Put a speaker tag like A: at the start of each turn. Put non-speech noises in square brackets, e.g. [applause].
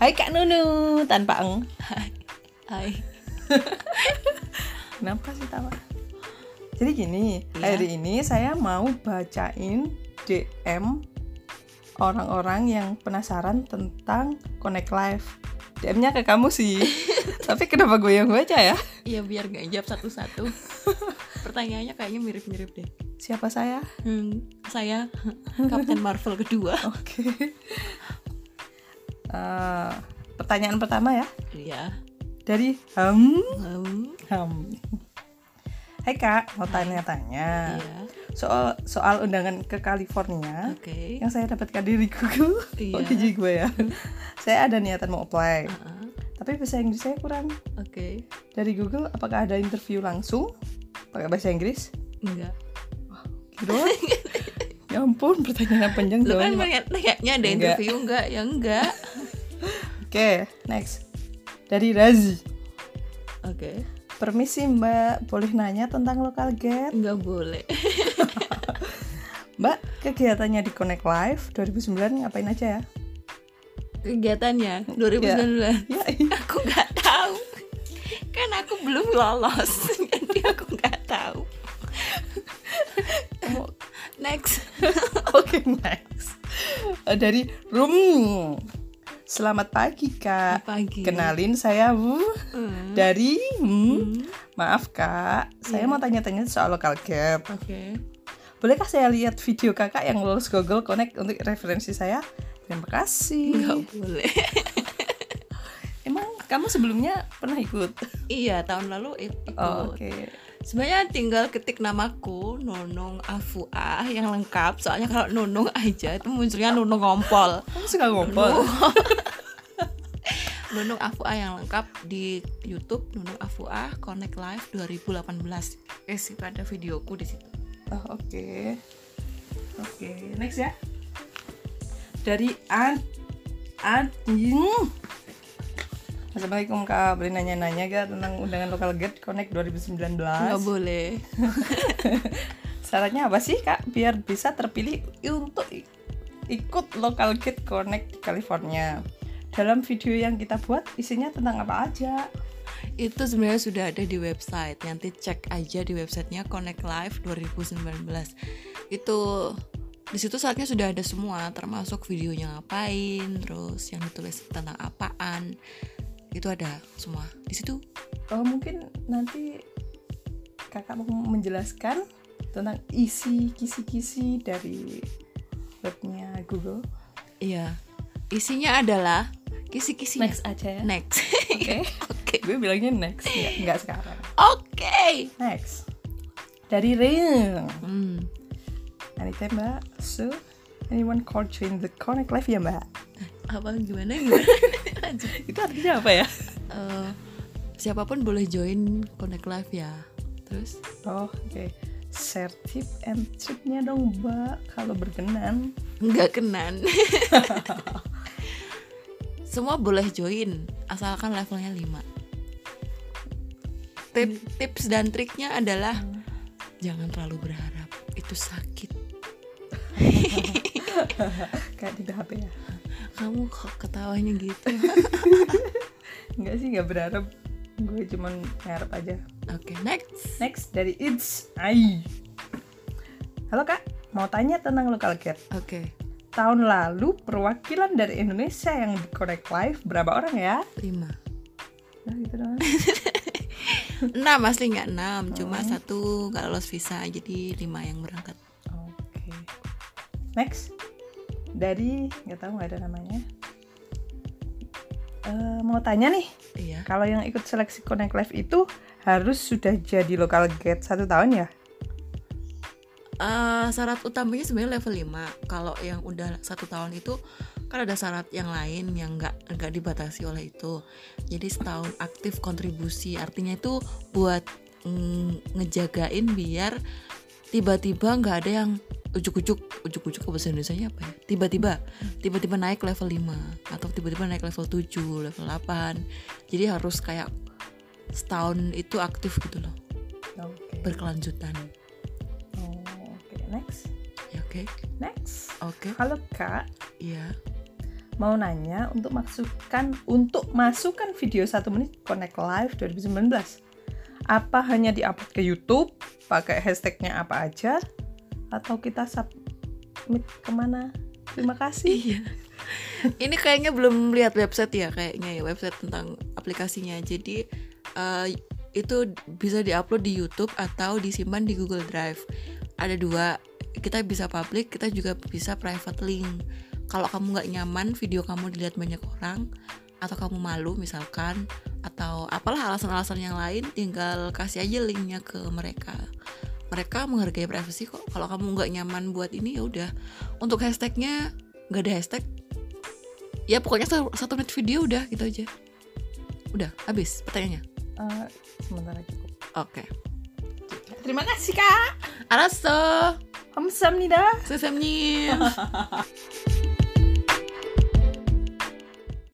A: Hai Kak Nunu, tanpa eng.
B: Hai.
A: Kenapa sih tawa? Jadi gini,
B: Iya.
A: hari ini saya mau bacain DM orang-orang yang penasaran tentang Connect Live. DM-nya ke kamu [laughs] sih. Tapi kenapa gue yang baca ya?
B: [laughs] Iya biar nggak jawab [laughs] satu-satu. Pertanyaannya kayaknya mirip-mirip deh.
A: Siapa saya?
B: Hmm, saya [laughs] Kapten Marvel kedua.
A: [laughs] Oke. Eh, pertanyaan pertama ya
B: Iya.
A: dari Ham.
B: Hmm,
A: Ham. Hai Kak, mau tanya-tanya.
B: iya.
A: soal soal undangan ke
B: Ah.
A: California
B: Oke.
A: yang saya dapatkan dari Google
B: Iya.
A: oke jadi gue
B: [laughs]
A: ya saya ada niatan mau apply
B: Ah,
A: tapi bahasa Inggris saya kurang
B: Oke.
A: dari Google apakah ada interview langsung pakai bahasa Inggris
B: Enggak. [laughs]
A: gitu ya ampun pertanyaan panjang
B: Lu
A: dong oke
B: kan nanya- nanyanya ada
A: Enggak.
B: interview enggak? Ya enggak.
A: next dari Razi
B: Oke.
A: permisi mbak boleh nanya tentang lokal get
B: Enggak boleh.
A: mbak kegiatannya di Connect Live 2009 ngapain aja ya
B: Kegiatannya 2019.
A: ya [laughs]
B: Aku nggak tahu. Kan aku belum [laughs] lolos. Jadi aku nggak tahu. Next.
A: Oke, next. Eh, Dari Rum. Selamat pagi, Kak.
B: Pagi.
A: Kenalin saya Bu
B: Hmm,
A: dari hmm. Maaf, Kak. Saya mau tanya-tanya soal lokal gap.
B: Oke.
A: Bolehkah saya lihat video Kakak yang lulus Google Connect untuk referensi saya? Terima
B: Nggak
A: kasih.
B: boleh. [laughs]
A: Emang kamu sebelumnya pernah ikut?
B: iya, tahun lalu it- ikut.
A: Oh, Oke.
B: Sebenarnya tinggal ketik namaku Nunung Afua yang lengkap. Soalnya kalau Nunung aja itu munculnya Nunung Ngompol.
A: Kamu suka ngompol?
B: Nunung Afua yang lengkap di YouTube Nunung Afua Connect Live 2018. Eh, sih ada videoku di situ.
A: Oh, Oke. Oke, next ya. Dari An An Ying. Assalamualaikum Kak, boleh nanya-nanya gak tentang undangan lokal Get Connect 2019?
B: Nggak boleh.
A: Syaratnya apa sih Kak biar bisa terpilih untuk i- ikut lokal Get Connect di California? Dalam video yang kita buat isinya tentang apa aja?
B: Itu sebenarnya sudah ada di website. Nanti cek aja di websitenya Connect Live 2019. Itu di situ saatnya sudah ada semua, termasuk videonya ngapain, terus yang ditulis tentang apaan. Itu ada semua di situ.
A: Oh, mungkin nanti kakak mau menjelaskan tentang isi kisi-kisi dari webnya Google.
B: Iya. Isinya adalah kisi-kisi
A: Next aja ya.
B: Next. [laughs]
A: Oke. [laughs]
B: Oke.
A: Gue bilangnya next, nggak, nggak sekarang.
B: Oke.
A: Next. Dari Ring.
B: Hmm.
A: Anytime, Mbak. So, anyone call join the Connect Live ya, Mbak?
B: Apa gimana gimana? Lanjut.
A: Itu artinya apa ya?
B: Eh, siapapun boleh join Connect Live ya. Terus
A: Oh, oke. Share tip and tricknya dong, Mbak. Kalau berkenan. [laughs]
B: nggak kenan. [laughs] Semua boleh join asalkan levelnya 5. Tip- tips dan triknya adalah jangan terlalu berharap. Itu sakit.
A: Kayak di HP ya.
B: Kamu kok ketawanya gitu?
A: Enggak sih, nggak berharap. Gue cuman ngarep aja.
B: Oke, next.
A: Next dari It's Ai. Halo Kak, mau tanya tentang lokal cat.
B: Oke,
A: Tahun lalu perwakilan dari Indonesia yang di Connect Live berapa orang ya?
B: 5.
A: Nah, gitu doang. [laughs]
B: 6 aslinya 6, cuma satu nggak lolos visa jadi 5 yang berangkat.
A: Oke. Next dari nggak tahu nggak ada namanya. Eh, mau tanya nih,
B: Iya.
A: kalau yang ikut seleksi Connect Live itu harus sudah jadi lokal gate satu tahun ya?
B: Eh, syarat utamanya sebenarnya level 5. Kalau yang udah satu tahun itu kan ada syarat yang lain yang nggak nggak dibatasi oleh itu. Jadi setahun aktif kontribusi artinya itu buat mm, ngejagain biar tiba-tiba nggak ada yang ujuk-ujuk ujuk-ujuk ke bahasa Indonesia apa ya tiba-tiba tiba-tiba naik level 5 atau tiba-tiba naik level 7 level 8 jadi harus kayak setahun itu aktif gitu loh
A: Oke.
B: berkelanjutan
A: Oh, Oke. Next.
B: ya oke
A: Next.
B: oke
A: Halo Kak,
B: iya
A: mau nanya untuk masukkan untuk masukkan video satu menit Connect Live 2019. Apa hanya diupload ke YouTube pakai hashtagnya apa aja atau kita submit kemana? Terima kasih.
B: Iya. [laughs] Ini kayaknya belum lihat website ya kayaknya ya website tentang aplikasinya. Jadi eh, itu bisa diupload di YouTube atau disimpan di Google Drive. Ada dua, kita bisa public, kita juga bisa private link. Kalau kamu nggak nyaman video kamu dilihat banyak orang atau kamu malu misalkan atau apalah alasan-alasan yang lain tinggal kasih aja linknya ke mereka mereka menghargai privasi kok kalau kamu nggak nyaman buat ini ya udah untuk hashtagnya nggak ada hashtag ya pokoknya satu, satu menit video udah gitu aja udah habis pertanyaannya
A: Eh, sementara cukup.
B: oke
A: Terima kasih kak.
B: araso
A: Hamsamnida.
B: sesamnya